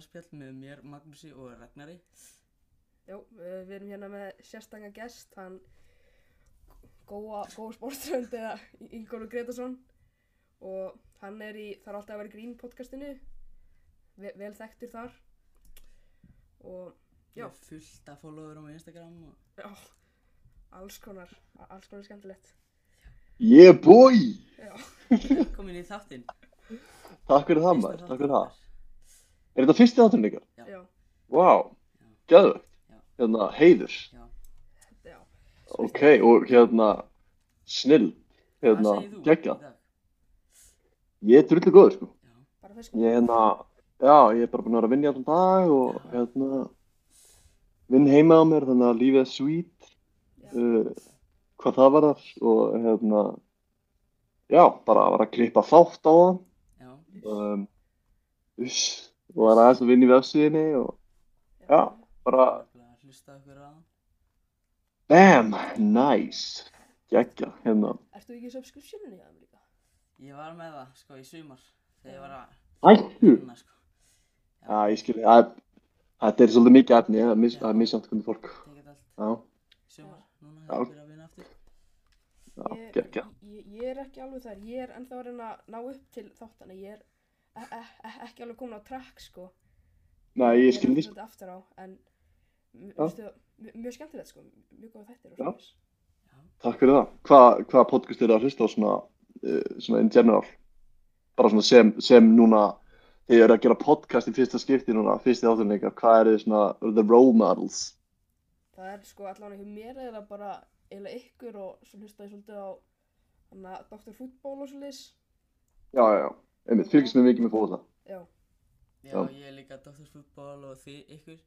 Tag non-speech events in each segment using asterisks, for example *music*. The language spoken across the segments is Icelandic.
spjall með mér, Magnúsi og Ragnari. Jó, eh, við erum hérna með sérstanga gest, hann góa, góa spórströnd eða Ingólu Gretarsson og hann er í, þarf alltaf að vera í grín podcastinu, vel, vel þekktur þar og Já. Ég er fullt af follower á Instagram og já, alls konar, a- alls konar skemmtilegt. Yeah boy! Já, komin í þáttinn. Takk fyrir það maður, takk fyrir það. Er þetta fyrsti þátturinn ykkar? Já. já, Vá, wow. gæðvögt. Já. Hérna, heiðurs. já, Ok, og hérna, snill. Hérna, geggja. í dag? Ég er drullu góður, sko. Já, bara þess Ég er hérna, já, ég er bara búin að vera að vinna í allan dag og Já. hérna, vinn heima á mér, þannig að lífið er sweet. Já. Uh, hvað það var þar og hérna, já, bara að vera að klippa þátt á það. já, um, uss, og var aðeins að vinna í vefsíðinni og já, bara nefnilega að hlusta okkur á það. bam, nice geggja, hérna Ertu ekki í subscriptioninu hjá þeim líka? Ég var með það, sko, í sumar, þegar ég var að hættu, vinna, sko. já, ég skil að þetta er svolítið mikið efni, það er mis- það er misjátt hvernig fólk, Tekið allt já, í sumar, núna Já. hefur byrjað að vinna aftur. já, Ég- geggja ég, ég er ekki alveg þar, ég er ennþá að reyna að ná upp til þáttana, ég er e e e ekki alveg komin á track sko. nei, ég skil því, Ég er þetta aftur á, en m- Já. veistu, m- mjög skemmtilegt sko, mjög góða þættir og Já. svona. takk fyrir það hvað hva podcast er að hlusta á svona uh, svona in general bara svona sem, sem núna þegar ég er að gera podcast í fyrsta skipti núna fyrsti átturinn ykkar, hvað er þið svona the role models Það er sko allan ekki mér er það bara eiginlega ykkur og svo hlusta ég svolítið á hana, Dr. Fútból og svolítið. já, já, já, einmitt, fylgist mér mikið með fóða Já, Já, Já. ég er líka doktorsfútból og þið ykkur.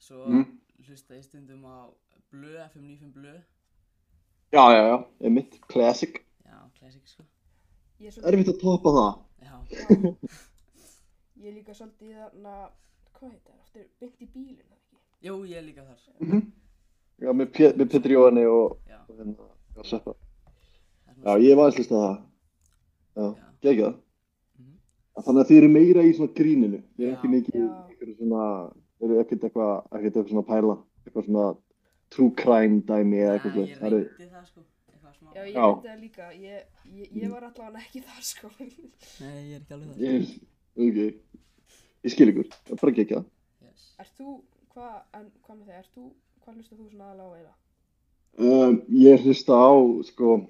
Svo Mm. hlusta ég stundum á Blö, FM95 Blö. Já, já, já, einmitt, classic. Já, classic, sko. ég er svolítið, Erfitt að topa það. Já, *laughs* ég er líka svolítið í þarna, hvað heit það, aftur beint í bílinn, er það ekki? jú, ég er líka þar. sko. Já, með, Pé- með Petri Jóhanni og, Já, og hérna, og Sveppa. það er Já, svona- ég var aðeins listað það. Já, Já. gegja það. Mhm. Þannig að þið eru meira í svona gríninu. Þið eru ekki Já. mikið í Já. einhverju svona, eru ekkert eitthvað, ekkert eitthvað svona pæla. Eitthvað svona true crime dæmi eða Já, eitthvað. svoleiðis. ég Það eru, reyndi það sko, eitthvað smá. Já, ég Já. veit það líka, ég, ég, ég var allan ekki þar sko. *laughs* Nei, ég er ekki alveg það. ég, ok, ég skil ykkur, það er bara gegja það. Yes. Ert þú, hvað, en hvað með þig, ert þú, hvað hlustar þú svona aðalega á eða? Um, ég hlusta á, sko,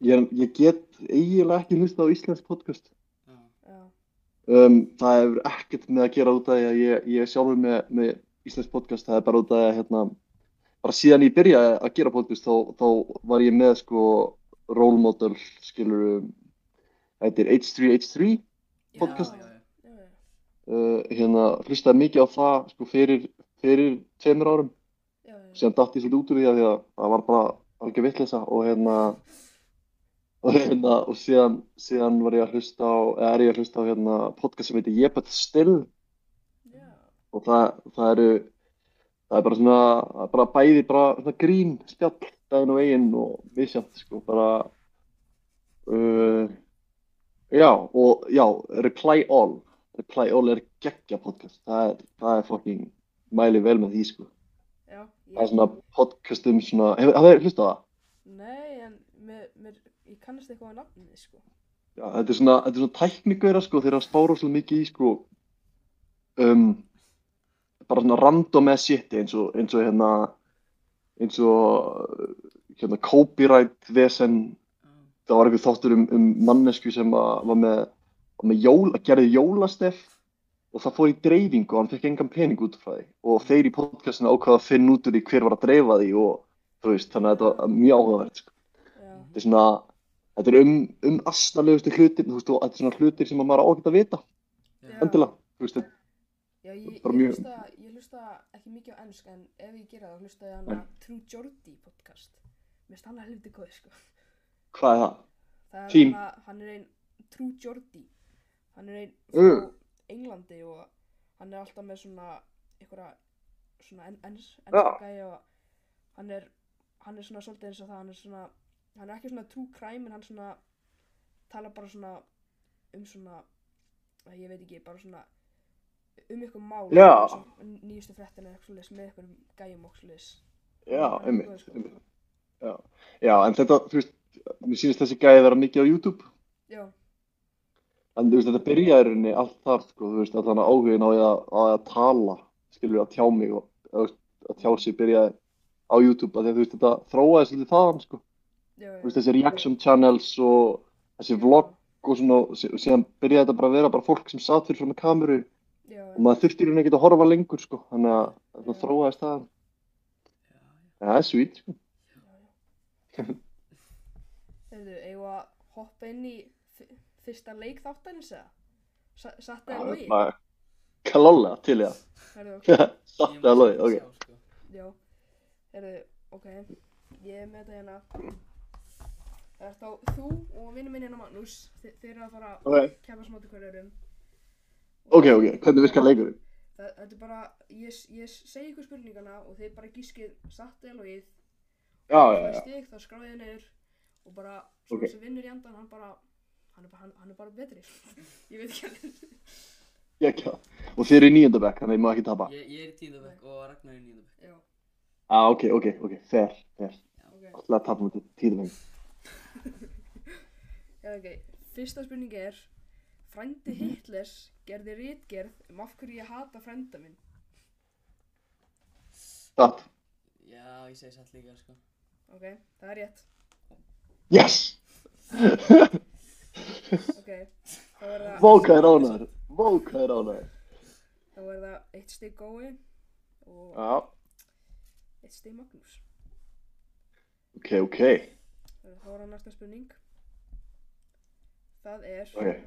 ég, ég get eiginlega ekki hlusta á íslensk podcast. Já, Já, Um, það hefur ekkert með að gera út af því að ég, ég er sjálfur með, með Íslands podcast, það er bara út af því að hérna, bara síðan ég byrjaði að gera podcast þá, þá var ég með sko role model skilur um, þetta er H3H3 Podcast. Já, já, já. já, já, uh, hérna hlustaði mikið á það sko fyrir, fyrir tveimur árum já, já, já, sem datt ég svolítið út úr því af því að það var bara algjör vitleysa og hérna *laughs* og hérna og síðan, síðan var ég að hlusta á, eða er ég að hlusta á hérna podcast sem heitir Ég bætt still já, og það, það eru það er bara svona, það er bara bæði bara svona grín spjall daginn og eigin og misjant sko, bara uh, já, og já, Reply All Reply All er geggja podcast það er, það er fucking mæli vel með því sko, já, það er ég, svona podcast um svona, hefur hef, hef, hlustað á það? nei, en mér, mér, ég kannast eitthvað á nafnið sko. Já, þetta er svona, þetta er svona tæknigöra sko, þeir eru að spára svolítið mikið í sko um, bara svona random eða shit eins og, eins og hérna eins og uh, hérna copyright vesen Já. það var einhver þáttur um, um mannesku sem að, var með, var með jól, að gerði jólastef og það fór í dreifingu og hann fekk engan pening út frá því og þeir í podcastinu ákvaða að finna út úr því hver var að dreifa því og þú veist, þannig að þetta var mjög áhugavert sko Já, Mhm. þetta er svona þetta er um, um astalegustu hlutir þú veist, og þetta er svona hlutir sem að maður á ekkert að vita Já. endilega, þú veist, þetta- já, ég, Bara ég mjög- hlusta, ég hlusta ekki mikið á ennsk, en ef ég gera það, hlusta ég hana True Jordi podcast. Mér finnst hann að helviti góð sko. hvað er það? Það er Team. hann að, hann er ein, True Jordi, hann er ein frá Mm. Englandi og hann er alltaf með svona, einhverja, svona en, ens, Já. ennskagæja og hann er, hann er svona svolítið eins og það, hann er svona, hann er ekki svona true crime en hann svona, talar bara svona um svona, æ, ég veit ekki, bara svona, um ykkur mál Já. eins og nýjustu fréttina eða eitthvað svoleiðis með ykkur gæjum og svoleiðis Það Já, er góð, einmitt, sko. einmitt. Já. Já, en þetta, þú veist, mér sýnist þessi gæði vera mikið á YouTube. já, En þú veist, þetta byrjaði í rauninni allt þar, sko, þú veist, allan að áhugin á ég að, á ég að tala, skilur að tjá mig og eða, þú veist, að tjá sig byrjaði á YouTube, af því að þú veist, þetta þróaði svolítið þaðan, sko. já, Þú veist, þessi reaction channels og þessi vlogg og svona, og sí- og síðan byrjaði þetta bara að vera bara fólk sem satt fyrir svona kameru já, og maður þurfti í rauninni ekki að horfa lengur, sko, þannig að þetta þróaðist þaðan. Já, já. Ja, það er sweet, sko. Heyrðu, eigum við að hoppa inn í fyr- fyrsta leik þáttanins eða? Sa- Satt eða logi? Maður- Klálega til í það. Heyrðu, ok, *laughs* Ég Satt má að logi, sjá, ok. sko. já. Heyrðu, ok, ég er með þetta hérna. Það er þá þú og vinnum minn hérna Magnús, þi- þið eru að fara að Ok, kemast móti hverju erum. ok, ok, hvernig virkar leikurinn? Það, þetta er bara, ég, s- ég s- segi ykkur spurningana og þið bara gískið satt eða logið. Já, Ef já, það er já, stig, þá skráðið þið niður og bara, svona Ok. sem vinnur í andan, hann bara, hann er bara, hann, hann er bara betri. *laughs* ég veit ekki hann. ég ekki það. Og þið eru í nýjöndabæk, þannig að ég má ekki tapa. Ég, ég er í tíðabökk og Ragnar er í nýðabökk. Já, Já, ah, ok, ok, ok, fair, fair. ok. Alltaf að tapa mútið tíðabæk. Já, ok. Fyrsta spurning er Frændi Hitlers gerði rítgerð um af hverju ég hata frænda minn. Satt. Já, ég segi satt líka, sko. Ok, það er rétt. Yes! Ok, þá er það, Vóka er ánæður. Vóka er ánæður. þá er það eitt stig gói og Já, eitt stig Magnús. ok, ok, Eh, Þá er það næsta spurning. Það er ok.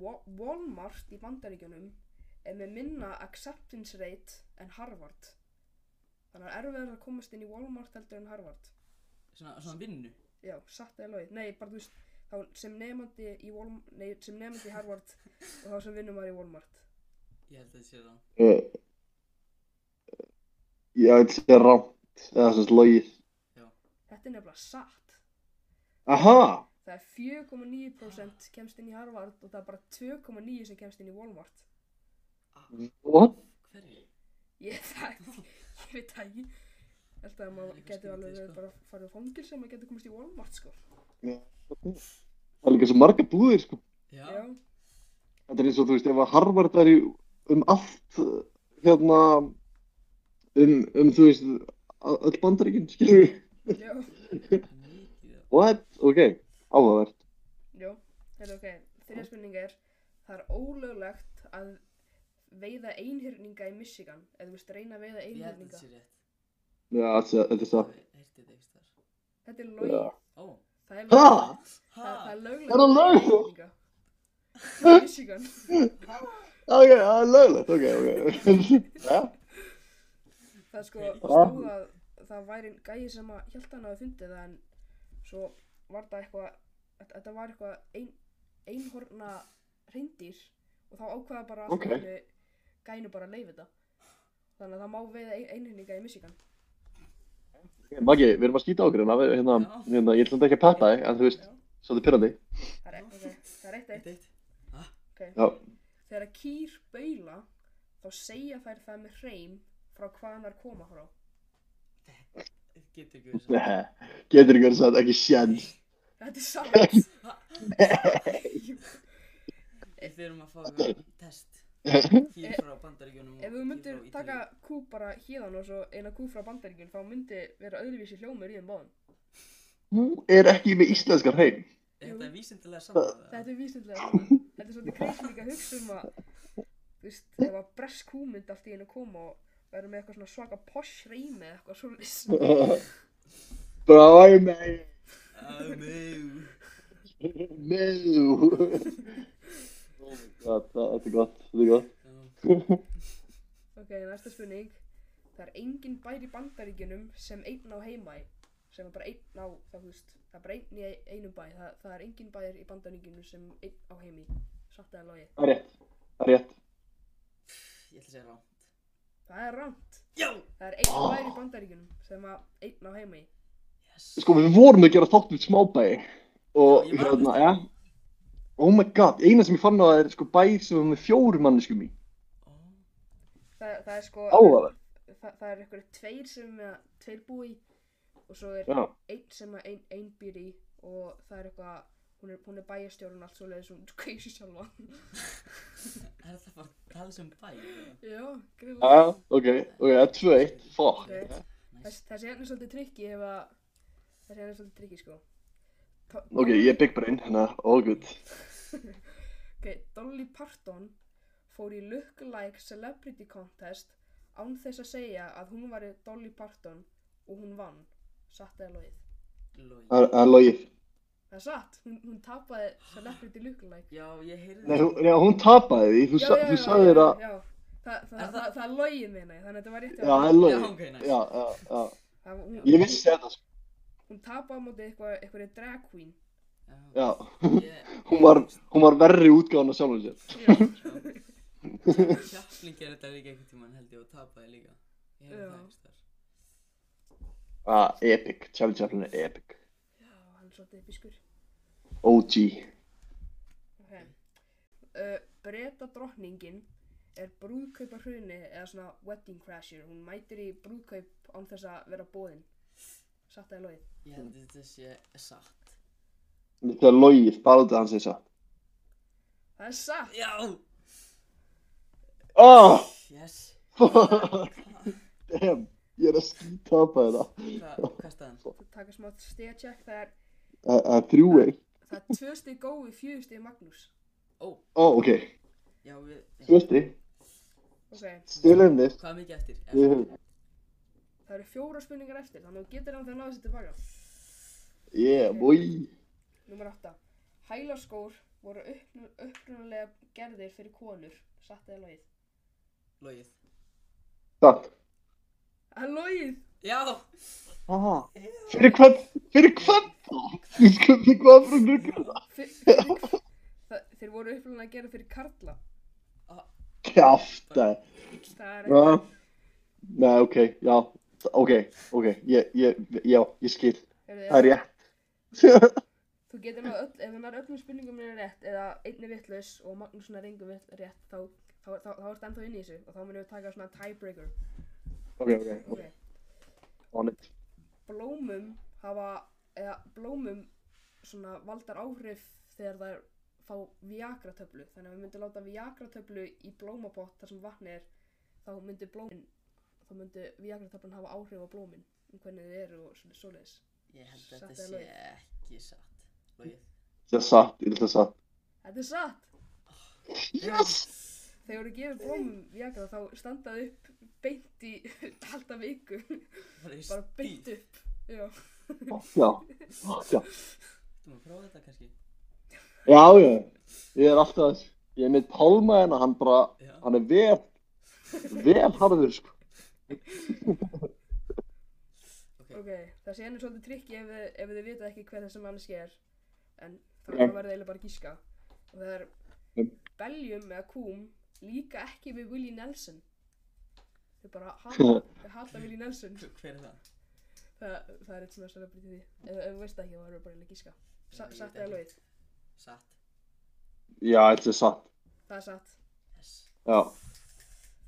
Wa- Walmart í bandaríkjunum er með minna acceptance rate en Harvard. Þannig að erfið er að komast inn í Walmart heldur en Harvard. Svona, svona vinnu. Já, satt eða logið. Nei, bara þú veist, þá sem nefandi í Walmart, nei, sem nefandi í Harvard *laughs* og þá sem vinnum maður í Walmart. Ég held að þetta sé það. Eh, Ég vil segja rámt, eða sem sagt logið. Þetta er nefnilega satt. Aha! Það er 4,9% kemst inn í Harvard og það er bara 2,9% sem kemst inn í Walmart. Ah, Mm. What? Hverju? Ég, það, *laughs* ég veit það ekki. Ég held að maður getur alveg verið sko. bara farið á fangil sem maður getur komist í Walmart, sko. Það er líka svo marga búðir, sko. Já. Já, Þetta er eins og þú veist, ef að Harvard væri um allt, uh, hérna, um, um þú veist, a- öll bandaríkinn, skilur við. já, Mikið. af- What? Ok, áhugavert. já. Þetta ok, þriðja spurning er, það er ólöglegt að veiða einhyrninga í Michigan, eða þú veist, reyna að veiða Ég held að einhyrninga. þetta sé rétt. Já, þetta er- þetta er það. Ég heyrti þetta ekki þar. Þetta er Já. lög. Ó. Það er Ha? lög. Ha? Það er löglegt. Er það löglegt? lög? Michigan. Ok, það er löglegt, ok, ok. *laughs* Já, Það er sko Ok. stóð að það væri gæi sem að hjælt hann að fundið það en svo var það eitthvað, þetta- þetta var eitthvað ein, einhorna reyndýr og þá ákvaða bara Ok. okay. gæinu bara að leifa þetta. Þannig að það má veiða ein, einhyrninga í Michigan. Ok, Maggi, við erum að skýta okkur hérna, við, hérna, Já. hérna, ég ætlum ekki að peppa þig, en þú veist, Já. svolítið pyrrandi. Það er, okay. það er eitt eitt. Þetta eitt. Okay. Já, Þegar kýr baula þá segja þær það með hreim frá hvaðan þær koma frá. Þetta getur ekki verið satt. Nei, *laughs* getur ykkur satt ekki sjans. Þetta er satt. Við þurfum *laughs* að fá okkur test. Kýr frá bandaríkjunum og Ef þú kýr myndir frá taka Ítalíu. kú bara híðan og svo eina kú frá bandaríkjun þá myndi vera öðruvísi hljómur í þeim báðum. Þú er ekki með íslenskar heim. Þetta er vísindilega saman. Þetta er vísindlega þannig. Þetta er svolítið kreist líka að hugsa um að, þú veist, ef að bresk kú myndi allt í einu koma og vera með eitthvað svona svaka posh reymi eða eitthvað svolítið. *laughs* Bræ mig, Amú. meðu. Oh my god, það- þetta er gott, þetta er gott. Ok, næsta spurning. Það er engin bær í bandaríkjunum sem einn á heima í. Sem er bara einn á, það þú veist, það er bara einn í einum bæ. Það, það er engin bær í bandaríkjunum sem einn á heima í. Satt eða logi. Það er rétt, það er rétt. Ég ætla að segja rámt. Það er rámt. Já. Það er einn Oh. bær í bandaríkjunum sem að einn á heima í. Yes. Sko, við vorum að gera þátt við smábæi og Já, ég man hérna, eftir já. Oh my god, eina sem ég fann á það er sko bæir sem er með fjórum manneskum í. það, það er sko Áhugavert. það, það er ykkur tveir sem að, tveir búi í og svo er Já, einn sem að ein, ein býr í og það er eitthvað hún er, hún er bæjarstjórun allt svo leiðis hún *laughs* kveisi sjálfa Er það bara að tala sem bæ? eða? já, já, greiðlega ok, ok, það er 2-1, fuck. Ok. Nice. Þess, þessi hérna er svolítið tryggi ef að þessi hérna er svolítið tryggi sko Ta- Ok, ég er big brain, hérna, all good. ok, Dolly Parton fór í lookalike celebrity contest án þess að segja að hún var Dolly Parton og hún vann satt eða logið Logi. Það er- það er logið. það er satt, hún, hún tapaði celebrity lookalike Já, ég heyrði Nei, hún, nei, hún tapaði því, þú, sa, þú sagði þér að, já, það, það, Er það, það, er logið minni þannig að þetta var rétt já, það er Já, logið. ok, næst. Já, já, já, það, hún, ég vissi þetta, sko, hún tapaði á móti eitthvað, eitthvað drag queen já. Ég, Hún var, hún var verri útgáðan að sjálfum sér. *laughs* já, Kjapling gerði þetta líka einhvern tímann held ég og tapaði líka. Ég Já. heyrði það ekki þar. Ah, epic, Charlie Chaplin er epic. já, hann er svolítið biskur OG. Ok. Uh, Breta drottningin er brúðkaupa hruni eða svona wedding crasher. Hún mætir í brúðkaup án þess að vera bóðin. Satt eða logið. Ég held að þetta sé satt. Þetta er logið, bara út af hans þess að. Það er satt. Já! Oh, Yes. fuck, damn, ég er að skítapa þetta. Hva, hvað staðan? Það taka smá stegcheck. Það er, Það það er þrjú eitt. það er tvö steg gói, fjögur steg Magnús. Ó, Ó, Ah, ok, já, við... tvö stig, Ok, stilum þið. Hvað er mikið eftir? Við höfum, það eru fjóra spurningar eftir. Þannig að þú getur hann þegar náðu sér tilbaka. yeah, boy. Númer 8. Hælaskór voru uppnu- upprunalega gerðir fyrir konur. Satt eða logið. Logið. Satt. Það er logið. Já! Ah, fyrir hvern, fyrir hvern þá? Þú skoðum hvað frá gluggur það. Fyr- fyrir- það- Þeir voru upprunalega gerðir fyrir karla. Kjafta. Það er Já. Nei, ok, já, ok, ok, ég, ég, já, ég skil, Heyrðu, það er rétt. *laughs* Þú getur náðu öll, ef þú nær öllum spurningum minni rétt eða einni vittlaus og Magnús nær engum vitt rétt þá, þá, þá, þá ertu ennþá inn í þessu og þá munum við taka svona tiebreaker. Ok, ok, Ok, on it. blómum hafa, eða blómum svona valdar áhrif þegar þær fá viagra töflu. Þannig að við myndum láta viagra töflu í blómapott þar sem vatni er, þá myndi blómin, þá myndi viagra töflan hafa áhrif á blómin um hvernig þið eru og svona svoleiðis. Ég held að Satt þetta eða sé logið? ekki satt. Logið. Það er satt, ég ætla að satt. Þetta er satt! Yes! Þegar þú gefur blómum viagra þá standaði upp beint í *laughs* halda viku, Bara í stíl. bara beint upp. Já, Já, já, Þú maður prófa þetta kannski? já, já, ég er alltaf þess. Ég er með tálma hérna, hann bara, Já. hann er vel, vel harður, sko. Ok. ok, það sé henni svolítið trikki ef, þið- ef þið vitað ekki hver þessi mannski er, en þá Já. yeah. verður það eiginlega bara að gíska. Og það er Mm. beljum eða kúm líka ekki við Willie Nelson. Þau bara hata, þau hata Willie Nelson. Hver hver er það? Það, það er eitt sem er celebrity því. Ef, ef þú veist það ekki þá verður það bara eiginlega að gíska. Sa, Ég veit satt ekki. eða logið? Satt. Já, þetta er satt, Það er satt. Yes. já.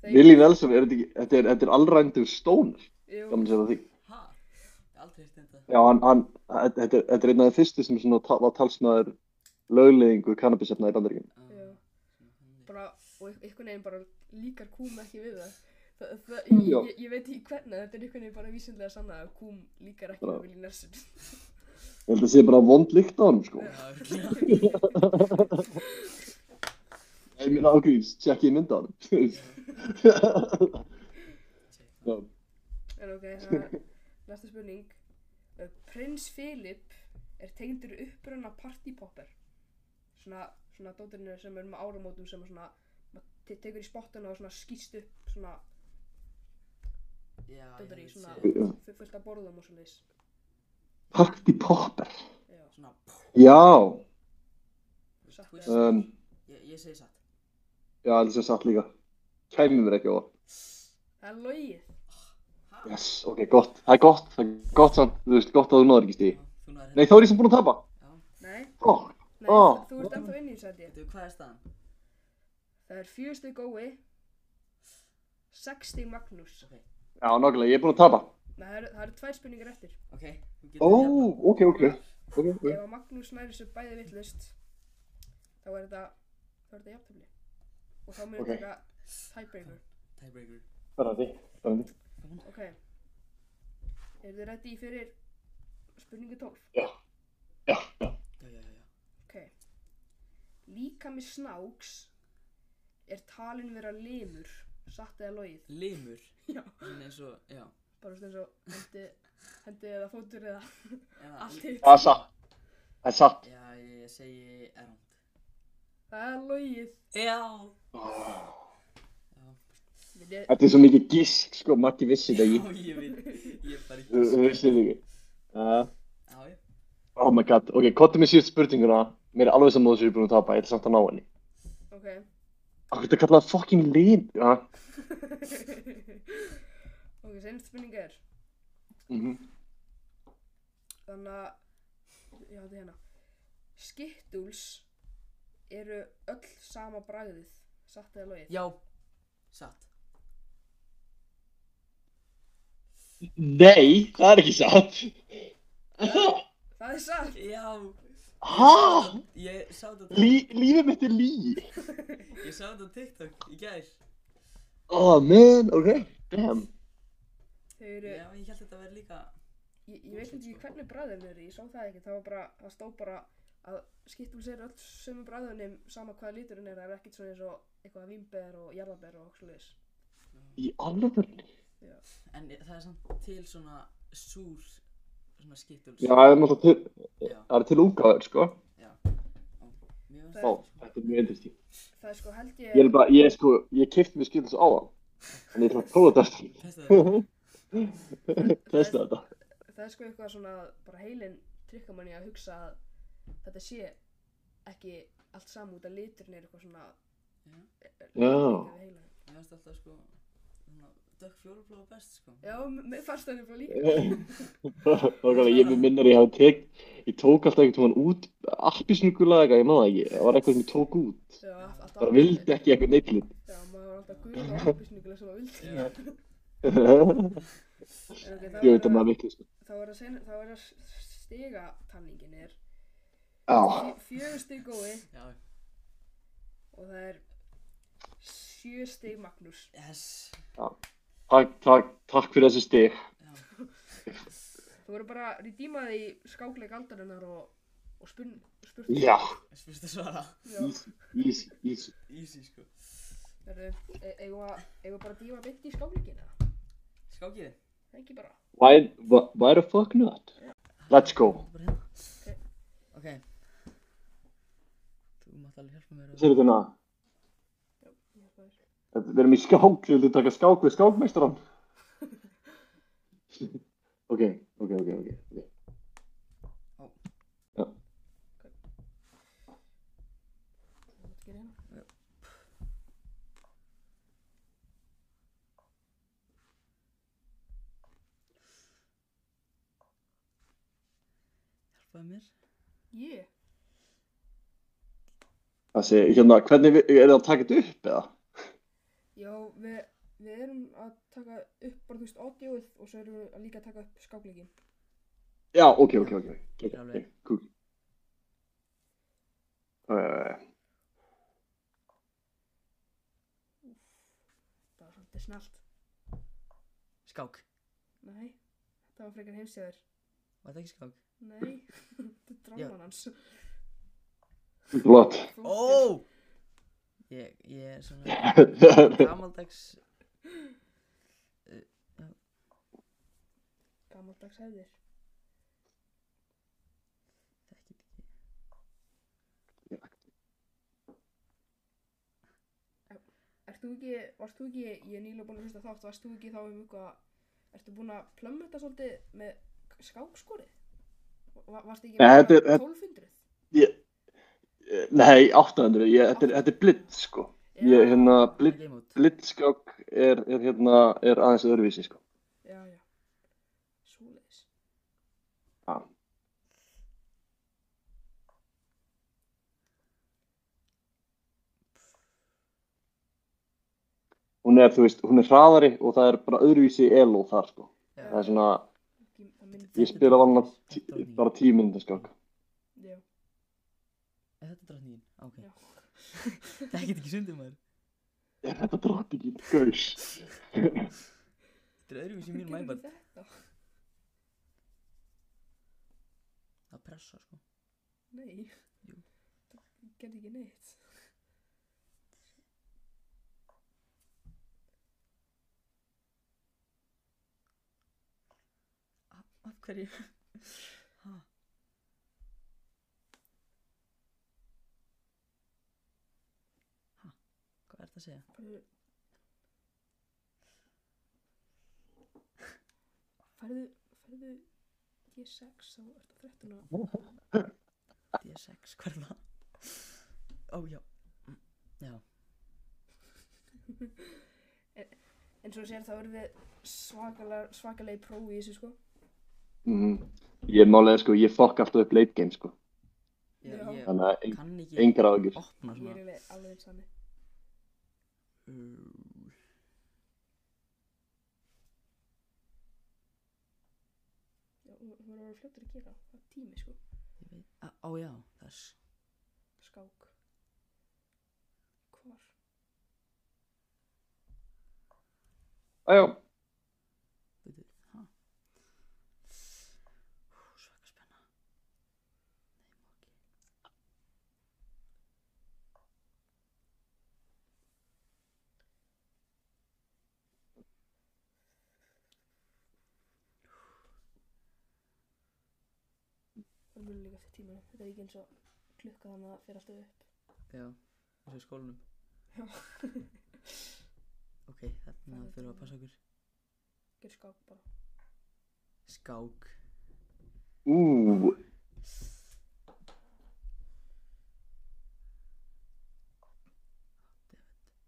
Þeir- Willi Nelson, er þetta ekki, þetta er, þetta er allrændur stónur, Jú. gaman að segja það því. Ha? Ég hef aldrei hérst þetta. Já, hann, hann, þetta þetta er, þetta er einn af þeim fyrstu sem svona ta- var talsmaður lögleðingu kannabisefna í bandaríkjum. Já. Ah, svona þannig. bara, og ein- einhvern veginn bara líkar kúm ekki við það. Það, það, Já. ég, ég veit ekki hvernig, þetta er einhvern veginn bara vísindlega sannað að kúm líkar ekki Já. við Willie Nelson. *laughs* Ég held að sé bara vond lykt á hann, sko. Já, *laughs* örugglega. Ég meina ágríms, tjekk ég mynd á *laughs* hann. Shit. Já, En ok, það er næsta spurning. Uh, Prins Philip er tengdur uppruna partypopper. Svona, svona dóturinu sem er með áramótum sem er svona, maður te- tekur í spottuna og svona skýst upp svona, Já, ég dótur í held svona, sé- fu- fullt af borðum og svona þess. Party Popper. Já, Svona pff, Já, satt twist. eða- um, Ég, ég segi satt. já, þetta sé satt líka. Kæmi mér ekki á það. það er logið. Yes, ok, gott. Það er gott, það er gott samt, þú veist, gott að þú náður ekki Já, stíði. Þú náður Nei, þá er ég sem búinn að tapa. Já. Nei, Ó, nei, Ó. þú ert ennþá inn í þessu held ég. Veitu, hvað er staðan? Það er fjögur stygg gói, 6 stíg Magnús. Ok, Já, nokkulega, ég er búin að tapa. Nei, það eru, það eru tvær spurningar eftir. ok, hérna. við Ó, getum jafnað. ok, ok. Ok, ok. Ef að Magnús næri þessu bæði vittlust, þá er þetta, þá er þetta jafntöfli. Og þá munum Ok. við taka tiebreaker. Tiebreaker. Spennandi, spennandi. Ok. Eru þið ready fyrir spurningu 12? Já, já. Já, já, já, já. Ok. Líkami snáks er talin vera limur, satt eða logið. Limur. Já. Svona eins og, já. Bara svona eins og hendi, hendi eða fótur eða Eða, allt hitt. Það er satt. Það er satt. Já, ég segi errand. Það er logið. Já. Við erum Þetta er svo mikið gísk, sko, Maggi vissi þetta Já, ekki. ég veit, ég er bara Þú þú ekki. vissi þetta ekki. Uh, Já, já. oh my god, ok, kottum við síðust spurninguna. Mér er alveg saman þessu ég er búin að tapa, ég ætla samt að ná henni. *laughs* Ok. Akkur þetta kallaði fucking lim. Já, ok, senst spurning er, mhm. þannig að, já þetta er hérna. Skittuls eru öll sama bragðið, satt eða logið. Já. Satt. Nei, það er ekki satt. *laughs* Það er *laughs* satt. Já. Hæ? Ég sá þetta Lí, lífið mitt er lí. Ég sá þetta á TikTok í gær. Oh man, ok, damn. Þau eru, Já, ég held þetta verði líka... ég, ég veit ekki hvernig bræðin eru, ég sá það ekki, það var bara, það stó bara að skiptum sér öll sömu bræðunum sama hvaða líturinn er, það er ekkert svona eins og eitthvað vínber og jarðaber og okkur leis. Í alveg. En það er samt til svona súr, svona skittuls. Já, það er náttúrulega til, Já, það er til útgáður, sko. já. Mér finnst Ó, það. þetta er mjög interesting. Það er sko held ég, Ég er bara, ég sko, ég kefti mér skilins á það. En ég ætla að prófa þetta aftur. Testa þetta. Testa þetta. það er sko eitthvað svona bara heilin trykkamanni að hugsa að þetta sé ekki allt saman út að liturinn er eitthvað svona Já. Já. *laughs* við heilann. Mér finnst alltaf sko, svona, dökk fjólubláa best sko. Já, mér fannst það nefnilega líka. Nákvæmlega, ég mér minnir að ég hafi tekt, ég tók alltaf einhvern tónan út, appisnuggulega eitthvað, ég maður það ekki. Það var eitthvað sem ég tók út. Já, allt- allt Bara annað- vildi ekki eitthvað neittlið. *laughs* Já, maður var alltaf guð og ábyrgsningulega sem maður vildi. Já. ég En ok, þá veit er að maður vitlis. þá er það, sen, þá er það stiga tanningin er Já. fjö- fjögur stig gói Já, og það er sjö stig Magnús yes. Takk, takk, takk fyrir þessi stig. Já, þú voru bara rýdímað í skákleik aldarinnar og, og spurn, spurt Já. þess fyrst að svara. Já, Easy, easy, easy. Easy sko. verðu, e- eigum við að- eigum við bara að dýma beint í skákleikina Skákýri. það ekki bara Why, wh- why the fuck not? Let's go. Bara hérna. Ok. Þú mátt alveg hjálpa mér að... Sér þetta hérna? Þetta- Við erum í skák, við viljum taka skák við skákmeistaran. *laughs* ok, ok, ok, ok. ok. Ó. Já. hérna? Hjálpaðu mér. ég, Það sé, hérna, hvernig, við- er það að taka þetta upp eða? já, við við erum að taka upp bara þú veist audióið og svo erum við að líka taka upp skákleikin Já, ok, ok, ok. Ok, Já, ok, alveg. cool. Uh, það var svolítið snallt Skák. nei, það var frekar heimsjöður Var þetta ekki skák? Nei, *laughs* þetta er dráman hans. Blott. Ó! Flottir. Ég, ég er svona gamaldags... Gamaldags hefðir. Þekkir ekki. Ert þú ekki, varst þú ekki, ég er nýlega búin að hlusta á þátt, varst þú ekki þá um eitthvað, ertu búin að plömmu þetta svolítið með skákskorið? Va- Varst ekki Nei, þetta er- með þetta- 1200? Eh, *laughs* Nei, 800, ég, þetta, er, þetta er blitt, sko. Ég, hérna, Það blitt, er game out. blittskák er, er, hérna, er aðeins öðruvísi, sko. Já, já. Svoleiðis. Já. hún er, þú veist, hún er hraðari og það er bara öðruvísi elo þar, sko. Já. Það er svona, Ekki- það myndi- ég spila þarna tí- bara tíu minnum, sko. Já, Er þetta drottningin? Á, Ok. Já. það get ekki sundið maður. Er þetta drottningin, gaus? Þetta er öðruvísi í Hvernig mínum gerum iPad. við þetta? Það pressa, sko. Nei, Jú. það gerði ekki neitt. Af hverju? Ha. Ha. Hvað er þetta að segja? Færðu... Færðu, færðu G6 þá er það 13 og... D6, hvað er það? Ó, já. Mm, Já. En svo sér þá erum við svakalega, svakalega í prófi í þessu sko. Mm. Ég málega, sko, ég fokk alltaf upp late game, sko. Ég, Já. ég Þannig að en, kann ekki engar ágjur. opna Ég er svona. alveg alveg eins þannig. Uh, Já, þú þú voru að vera fljóttur að gera. Það er tími sko. Ég veit. Á, á, já. Það er s- Skák. Hvar? Æjá, Bíddu, ha. Ú, Svaka spenna. Nei, má ekki. Það er mjög líka eftir tímanum. Þetta er ekki eins og klukka þannig að það fer alltaf upp. Já, eins og í skólanum. Já. Ok, þarna þurfum við að passa okkur. Gjör skák bara. Skák. ú,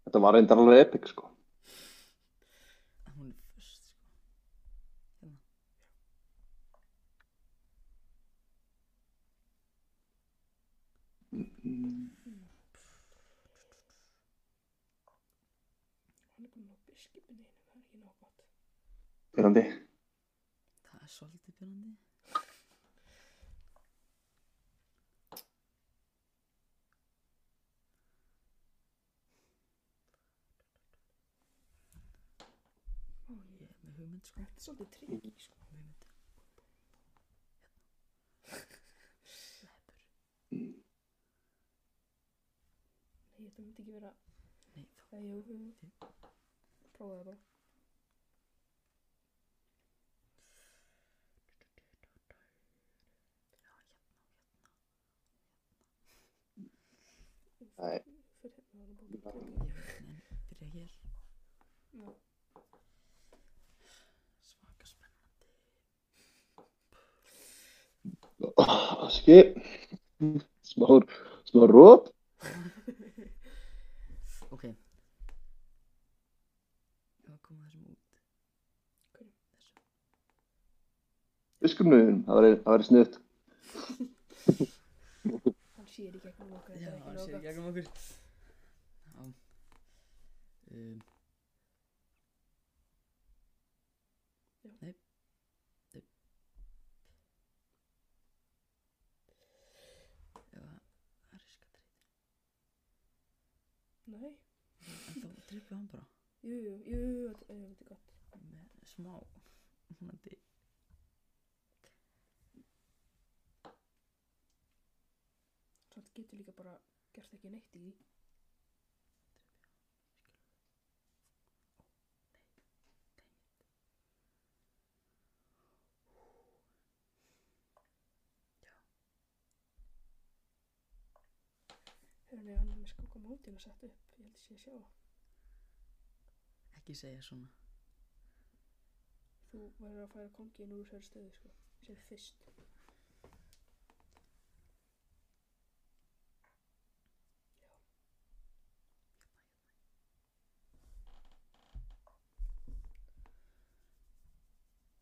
þetta var reyndar alveg epic, sko. Hún er först, sko. Hérna. Hann er komin á biskupinu hinn. Það er ekki nóg gott. Fyrrandi. Það er svolítið björnandi. Ó, Ég ég. er með hugmynd, sko. Þetta er svolítið trikki sko. Með hugmynd. Hérna. Leppur. Nei, þetta myndi ekki vera... Nei, þá. Það er jú, jú. Prófa það bara. Ég Fyrir hérna var það bara Nei. veit, en byrja hér. Já. Svaka spennandi. Skip. Smá, smá rót. Ok. Ég var að koma þessum út. Hverjum? Þessum. Fiskurnuðum, það væri- það væri sniðt. Hann sér í gegnum okkur, Já, þetta er hann ekki nóg sé í gott. gegnum okkur. Já. Um. Já. Nei. Nei. Já, það er riska treyt. Nei, En þá trippið hann bara. jú, jú, jú, jú, þetta er þetta er gott. með smá vonandi Samt getur líka bara gert ekki neitt í því. Hörni, hann er með skóka mótin að setja upp, ég held að sé að sjá. ekki segja svona Þú verður að færa kongin úr þessari stöðu, sko, sem fyrst.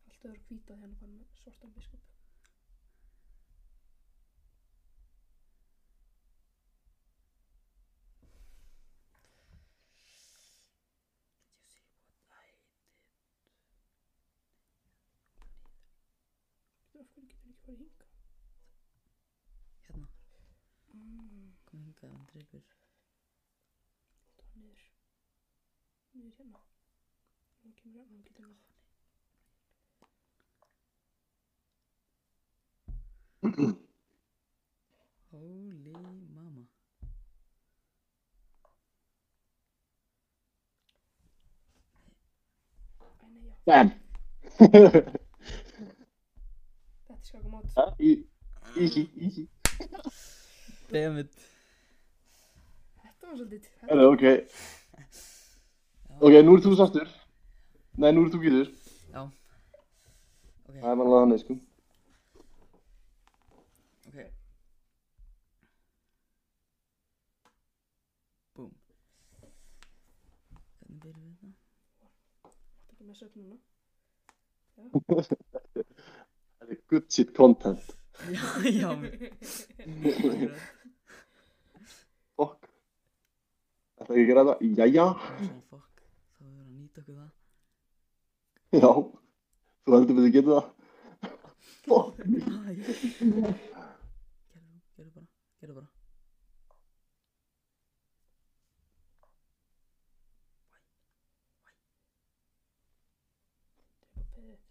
Allt öðru hvítað hérna bara með svartan biskup. hverju getur ekki farið hinga? Hérna, Mm, kom hingað hann dreipur. það var niður. Niður hérna. Nú kemur hérna, nú getur við. Holy mama. Æ, nei, já. Bam! *laughs* Þetta skal koma át. Í- Easy, easy. Damn it. Þetta var svolítið. Þetta Herru, ok. Ok, nú er þú sáttur. Nei, nú er þú gýður. Já. Ok, Það er vanlega þannig, sko. ok. Búm. Hvernig byrjum við hérna? þetta? mátt ekki messa upp núna. Þetta er good shit content. *laughs* *laughs* Já, já. *laughs* *laughs* akkurat. Fuck. Þetta ekki að gera þetta? Jæja. Ég sagði, Fuck, þá verður að nýta okkur það. *laughs* Já. Þú heldur við þið getur það. Fuck. Æ. Gerðu, gerðu bara, gerðu bara. Þetta er bara beðið.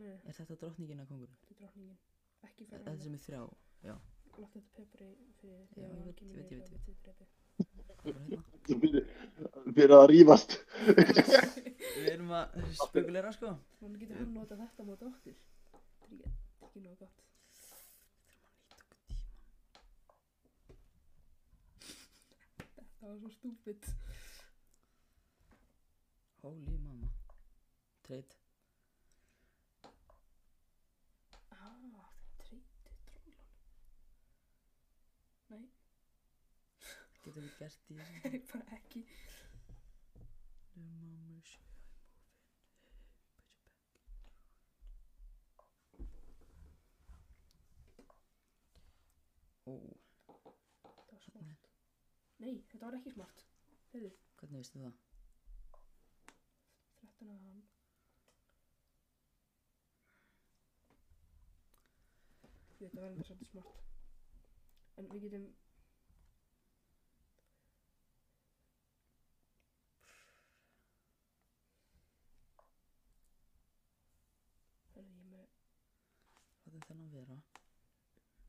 Nei, Er þetta drottningin að kongur? þetta er drákningin. Ekki fyrir Þetta sem er þrjá. Já, Láttu þetta pepper í fyrir Já, ég veit- ég veit- ég veit- bara hérna. Þú byrjar byrjar að rífast. Við erum að spekulera sko. Þannig getur hann nota þetta móta okkur. Þetta er ekki- þetta er ekki nóg gott. Þetta var svo stúpid. Holy mamma. Treyt. Ah, það treyti tróllan. Nei, Getum við gert í þessu? það er *laughs* bara ekki. Your mama is sure I move it. Hey, put your back in. Ó, Þetta var smart. Nei, þetta var ekki smart. Heyrðu, hvernig veistu það? 13 að hann. Þetta var enda svolítið smart. En við getum... Heyrðu, ég er með... Hvað er þennan vera?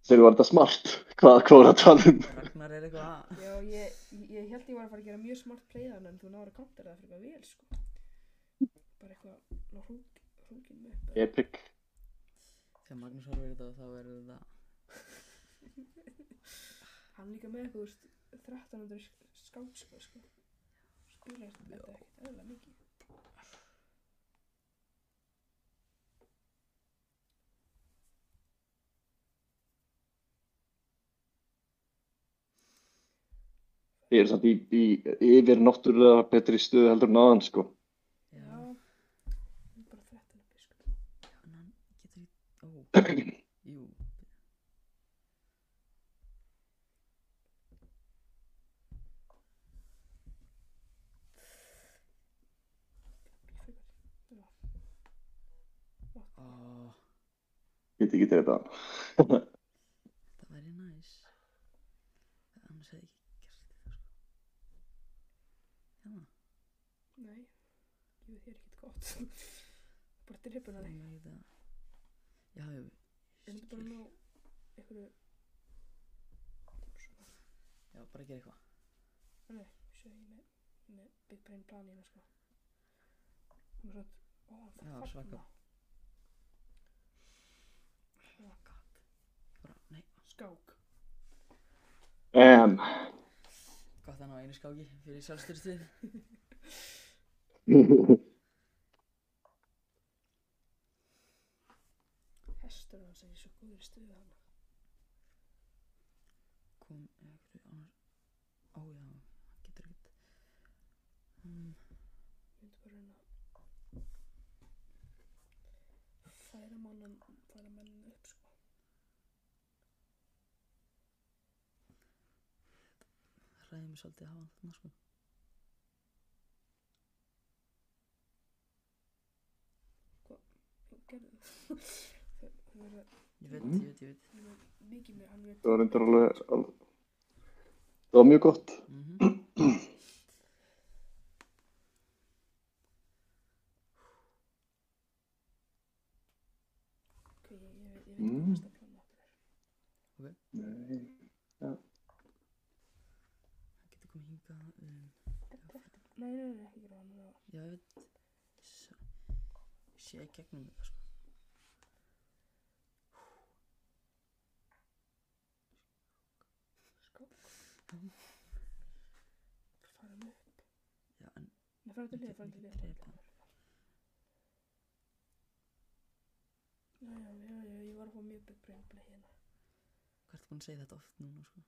Þegar var þetta smart. Hvað, hvað var það að tala um? Ragnar er eitthvað Já, ég, ég, ég held ég var að fara að gera mjög smart playðan en þú náður að counter það fyrir eitthvað vel, sko. Bara eitthvað, ná hrúk, hrúkin mig upp. eða- Epic. Þegar Magnús horfir í þetta þá verður þetta Hann líka með eitthvað, þú veist, 1300 skátskó, sko. Spila þetta ekkert eðla mikið. Þið eru samt í, í yfir náttúrulega betri stöðu heldur en aðan, sko. Já, Já. Ég er bara 13 uppi, sko. já, en hann getur ekki Ó, jú Ó, Get ekki til þetta. það væri næs Annars hefði ég ekki gert þetta sko Hérna, Nei, jú, það er ekkert gott. *laughs* bara drippur hann. það er ekki það Já, jú En þetta skil. bara ná einhverju... Svona, Já, bara gera eitthvað nei, sjö, ég með, ég með Big Brain plan hérna, sko. Hún er svona, ó, hann Já, þarf að svaka. fagna. Oh god Bara, nei, Skák. Um, gott að ná einu skáki fyrir sjálfstyrstið Hestur hans er í svo góður stuðu hann. kom einhverju annars ó já, hann getur ekkert mm, Ég myndi bara reyna að færa mannum, færa mennum upp, sko. ræði mig svolítið að hafa hann þarna sko gerði það. *laughs* Þau verða Ég veit, ég veit, ég veit. þau verða mikið mér, hann veit. Það var reyndar alveg, alveg, það var mjög gott. Mm Ok, sko, ég, ég, ég veit ekki Mm. hvað næsta plan okkar er. Nei. Hann getur komið hingað. Um, Nei, nei, nei, ekki gera hann. það. já, ég veit. Svo, ég sé í gegnum þetta, sko. Skák. Farum upp. Já, en Nei, farum til Ég liða, get- farum ég til get liða. drepið hann. Já, já, já, já, ég var að fá mjög big brain play hérna. hvað ertu búin að segja þetta oft núna, sko?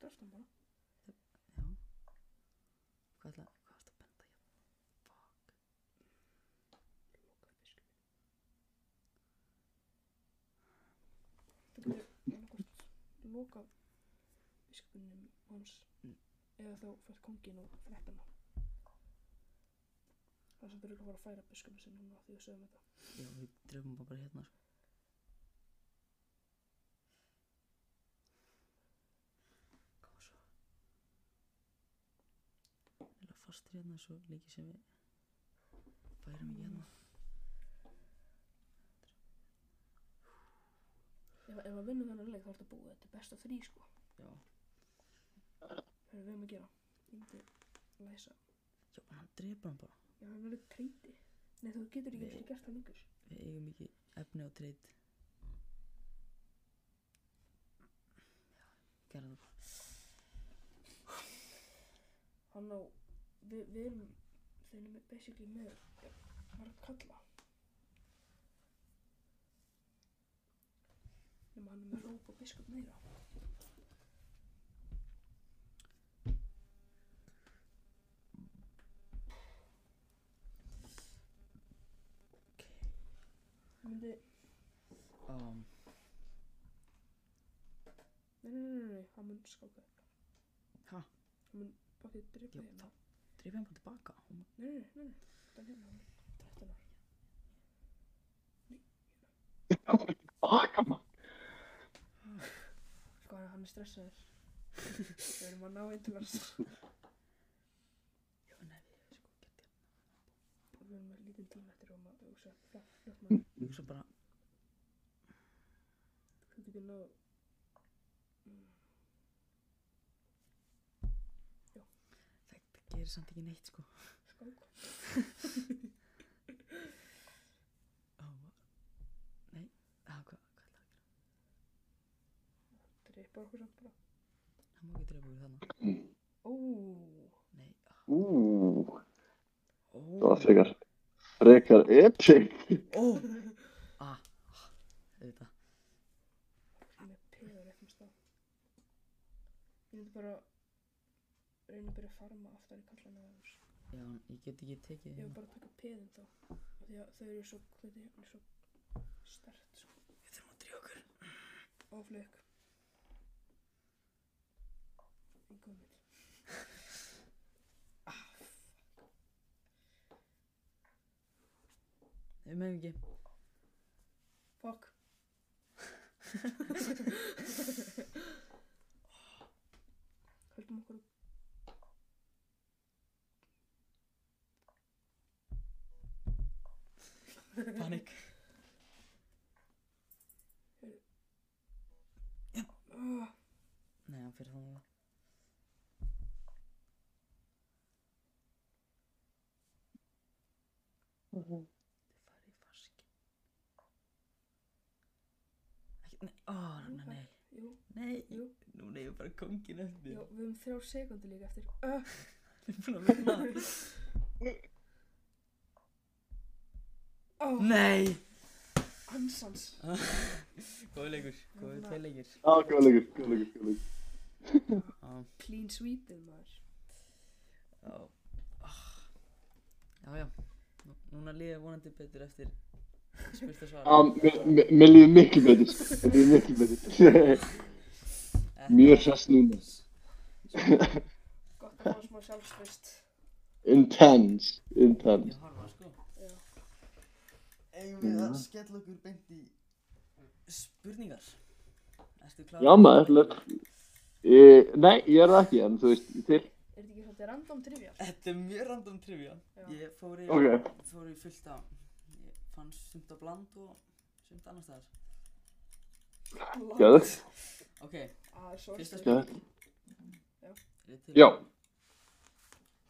Drafst hann bara. Já. Hvað ætla, hvað ertu að benda hérna? Fuck. Lokaðu fiskinum. Þú getur annarkvort loka biskupinum hans Mm. eða þá fært kongin og fréttan hann. Það er sem byrjur að fara að færa biskupin sinn núna því við sögum þetta. Já, við drefum bara hérna, sko. Koma svo. Eða fastur hérna svo líki sem við færum ekki hérna. Ef, ef að vinnum þennan leik þá ertu búið, þetta er besta frí sko. Já. Það er við um að gera. Ég myndi læsa. Já, en hann drefur hann bara. Já, hann verður kreiti. Nei, þú getur ekki Nei. einu sinni gert það lengur. Við eigum ekki efni á treyt. Já, gerðu það. Hann á, við, við erum, þeir eru með- basically með, ja, var að kalla. Nefnum hann er með róp og biskup meira. Ok. Ég myndi, Um, nei, nei, nei, nei, nei, hann mun skáka þetta. ha, Hann mun báttið dripa Já, hérna. dreif hann bara tilbaka. Oh my- Nei, nei, nei, nei, þetta er hérna, þetta er hérna. Ah, gaman. Sko, hann- hann er stressaður. *laughs* Við erum að ná einn til hans. Já, nei, við sko, gett ég. Og Við erum með lítinn tíma eftir um og maður, og svo, flott, flott maður. Ég hugsa bara, Þú getur náðu. þetta gerir samt ekki neitt, sko. Skák. Oh, nei, ah, hvað, hvað er það að gera? Dripar okkur samt bara. Hann má ekki dreifa úr þannig. Ó, Nei, ah, Ú, ó, það var frekar, frekar epic. ó, ah, ah, auðvitað. sem er peður eitthvað stað. Ég myndi bara reyna að byrja að farma aftar í kallana þegar þess. Já, en ég get ekki tekið Ég vil hérna. bara taka peðin þá. af Því að þau eru svo, hvað þið er svo stert sko. Við þurfum að dreifa okkur. Og flökk. Engum minn. Við meðum ekki. Fuck. *laughs* Höldum okkur upp. Panik. Ah. Nei, hann fyrir þannig. Þið farið í faski. Ekki, nei, ó, Jú, nei, Jú, nei, jú. núna er bara kongin eftir. Já, við höfum þrjár sekundir líka eftir. Uh, Við erum búin að vinna. oh, nei! ansans. Góði leikur, góði tvei leikir. Á, góð leikur, góð leikur, góð leikur. Já, Clean sweepið maður. já. Ah. Já, já. Nú- Núna líður vonandi betur eftir spurt *laughs* og Á, svara. mér- mér- Mér líður miklu betur, mér líður miklu betur. *laughs* Mjög hress núna. Gott að fá smá sjálfströst. Intense, intense. Ég horfa sko Eigum við að Mhm. skella okkur beint í Spurningar Ertu klár? Já maður, let- Ég- nei, ég er það ekki, en þú veist, til. Er þetta ekki svolítið random trivia? Þetta er mjög random trivia Já. Ég fór í, Ok. fór í fullt á Ég fann sumt á bland og sumt annars staðar Gæðu. Ok, Ah, sorry. fyrsta Já. spurning Er þið til? Já,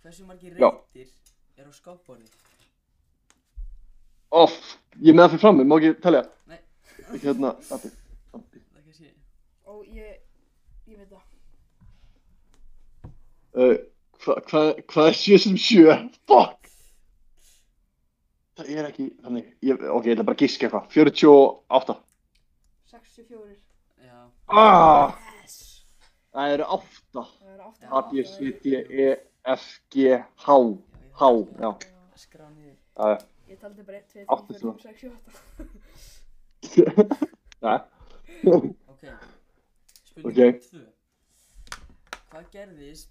Hversu margir Já. reytir eru á skápborði? off. Ég er með það fyrir frammi, má ekki telja. Nei. Hérna, appi. Það kannski Ó, ég, ég veit það. Uh, hva- hva- Hvað er sjö sem sjö? Fuck. Það er ekki, þannig, ég, ok, ég ætla bara að gíska eitthvað. 48. 64. Já, Ah, Yes! það eru 8. Það er 8. A, B, C, D, E, F, G, H. H, já. Skrá niður Það er, Ég taldi bara 1, 2, 3, Átta 4, svona. 5, 6, 7, 8. það Ok Spurning Ok. 2 Hvað gerðist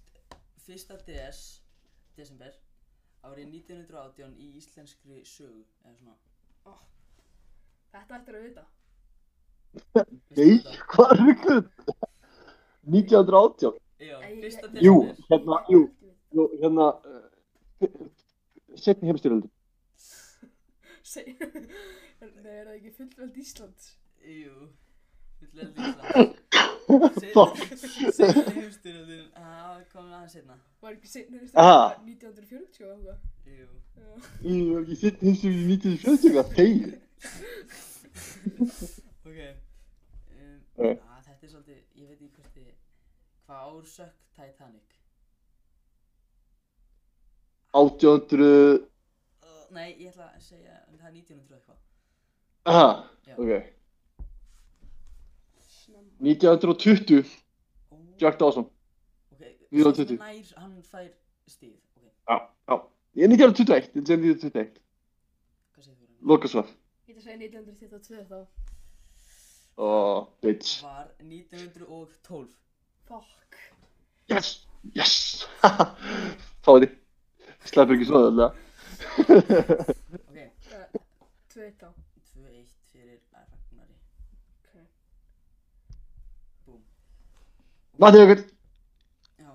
fyrsta DS desember árið 1918 í íslenskri sögu eða svona Þetta ættir að vita. veistu Nei, þetta? hvað er þetta? 1918. Já, fyrsta Æ, ég- desember Jú, hérna, jú. Jú, hérna, setni heimstyrjöld. *laughs* Seg- Nei, er það ekki fullveld Íslands? Jú, fullvel *laughs* Ísland Seinna heimstyrjöldin Það komin Ah, aðeins seinna Var ekki seinna Ah. ah. 1940 og eitthvað? Jú, Já. Ég var ekki setni heimstyrjöld í 1940, hvað þegir? ok um, Ok. að, Þetta er svolítið, ég veit ekki hvort þið Hvað ár sökk Titanic? 1800, Uh, nei, ég ætla að segja, um, það er 1900 eitthvað aha, Já. ok, Snemma. 1920, Ó, Jack Dawson, Ok, 1920. hann nær, hann fær stíð Ok, já, já, ég er 1921, ég er 1921, hvað segir þú? Lókasvar, Ég ætla að segja 1922 þá. oh, bitch, Var 1912 Fuck. yes, yes, *laughs* fáði, sleppur ekki svona alltaf, Ok, Uh, 2 þá. 2-1 fyrir Ragnari Ok. Búm matið okkur, *laughs* Já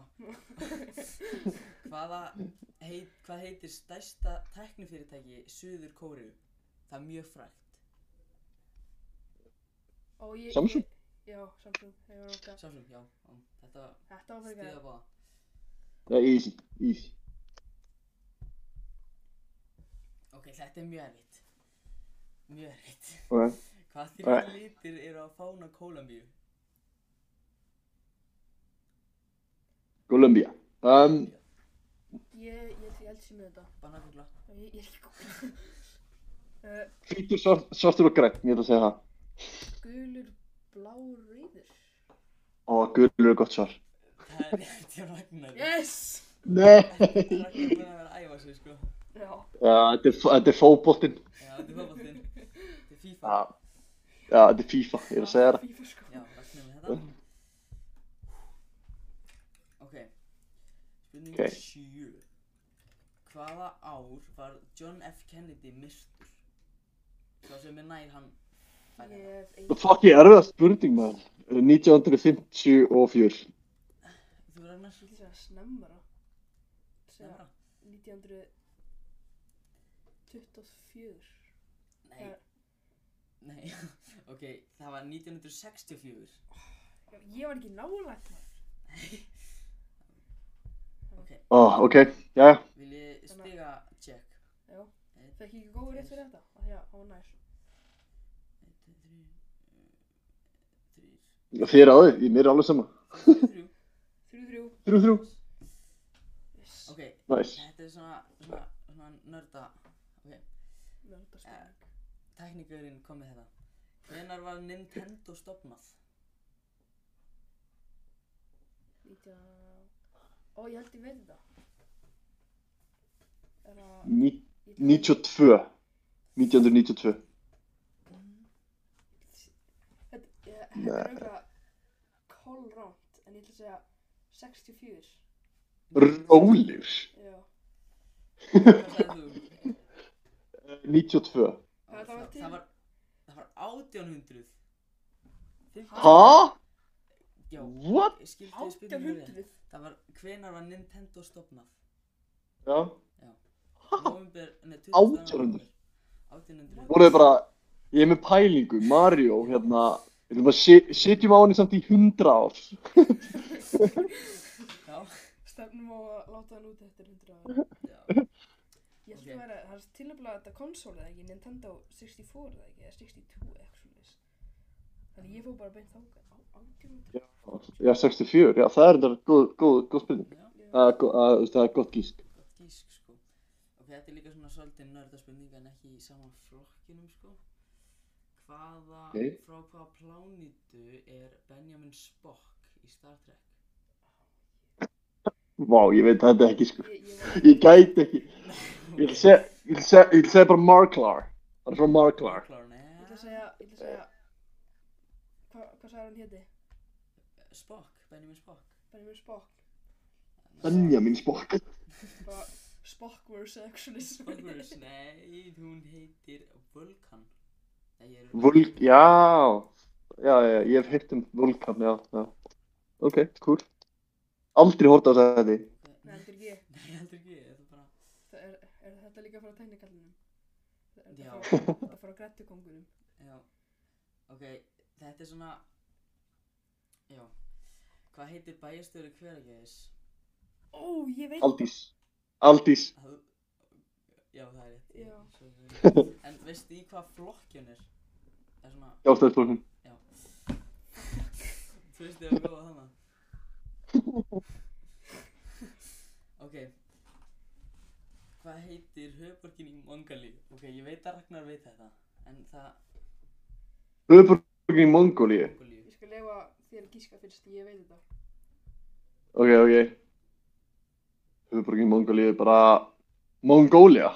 Hvaða heit, Hvað heitir stærsta tæknifyrirtæki Suður Kóru? Það er mjög frægt Ó, ég, Samsung? Ég, já, Samsung. Ég var okkar. Samsung, já, já Þetta var Þetta var fyrir stíða gæði. báða það er easy, easy, Ok, þetta er mjög erfitt Mjög erfitt ok, Hvað þrjá Nei. litir eru á fána Kólambíu? Columbia, um, Ég, ég, ég elsi með þetta. Bananugla Ég, ég er ekki góð. *laughs* uh, hvítur, svart- svartur og græn, ég ætla að segja það, gulur, blár, reyður. og gulur er gott svar, Það er rétt hjá Ragnari Yes! nei, Ragnar búin að vera að æfa sig sko Já. *laughs* já, þetta er, þetta er fótboltinn, Já, þetta er fótboltinn Þetta er FIFA já, já, þetta er FIFA, ég er að segja það, FIFA sko. Já, ragnum við þetta Ok Spurning Ok. 7 Hvaða ár var John F. Kennedy myrtur? Sá sem er nær hann fær Ég þetta. hef Það er einu. fokkið erfiða spurning maður. Eh, 1954. Þú verður annars Ég ætla að segja snemmara. Segja Snemma? 1924. Nei, nei *laughs* Ok, það var 1964 Já, ég var ekki nálægt maður. Ó, ok, já, já. *laughs* Vil ég Þannig að- stiga check? Já. Fekk ég ekki góður rétt fyrir þetta? Af því að það var nær. eh, 3 Þið eru aðeins, ég mér er alveg sama. 3 Þrjú, þrjú. 3-3. Yes. Ok, Næs. þetta er svona, svona, svona nörda Nörda spurning. teknikurinn kom með þetta Hvenar var Nintendo stopnað? 19... Ó, ég held ég veit þetta. Er það... Ní- ég- 92. 1992. Þetta ég- þetta er auðvitað kolránt, en ég ætla að segja 64. Rólir. Já. Hvað sagði þú? Eh, Það 92. var til. það var, það var 1800 Hæ? Já, What? ég skildi við spurninguna rétt. 1800 Það var, hvenar var Nintendo stopnað? Já. November, nei, 20. 1800. november. 1800 Voruð þið bara, ég er með pælingu, Mario, hérna, við erum bara, sit- sitjum á henni samt í 100 ár. Já, Stefnum á að láta hann út eftir 100 ára já, Ég ætlum Ok. að vera, það er tilnefnilega þetta konsól eða ekki Nintendo 64 eða ekki, eða 62 eitthvað svona Þannig ég fór bara beint þáka á 1800 Já, 64, já, það er þetta góð, góð, góð spurning. já, Það er gó- að- þú veist, það er gott gísk. gott gísk, sko. Ok, þetta er líka svona svolítið nörda spurning en ekki í saman flokkinum, sko. Hvaða, Ok. frá hvaða plánitu er Benjamin Spock í Star Trek? Vá, ég veit þetta ekki, sko. Ég, ég var Ég gæti ekki. Ég vil segja, ég vil segja, ég vil segja bara Marklar. Það er frá Marklar. Klar, nei. Ég ætla að segja, ég ætla að segja Hva, Hvað sagði hann héti? Spock, Benjamin Spock. Benjamin Spock Benjamin Spock. Bara Spockverse eða eitthvað svona Spockverse, nei, hún heitir Vulcan. Nei, ég er... Vulk, já. Já, já, ég hef heyrt um Vulkan, já, já. Ok, cool. Aldrei hórt á þetta. Nei, heldur ekki Nei, heldur ekki, þetta er bara... Það er, er þetta líka frá teknikallinum? Er Já. þetta frá, þetta frá grættukongunum? Já, ok, þetta er svona, já, hvað heitir bæjarstöru hveragæðis? Ó, ég veit Aldís. Aldís. Það, já, það er rétt. ég- Já. svo er það. En veistu í hvað flokkjun er? Það er svona, Sjálfstæðisflokkin. þú veist ég að góða þannig. ok, hvað heitir höfborgin í Mongali? Ok, ég veit að Ragnar veit þetta, en það, Höfuborgin í Mongóliu. Mongolíu. Ég skal lefa þér að gíska fyrst, ég veit þetta. Ok, ok. Höfuborgin í Mongóliu er bara Mongólia.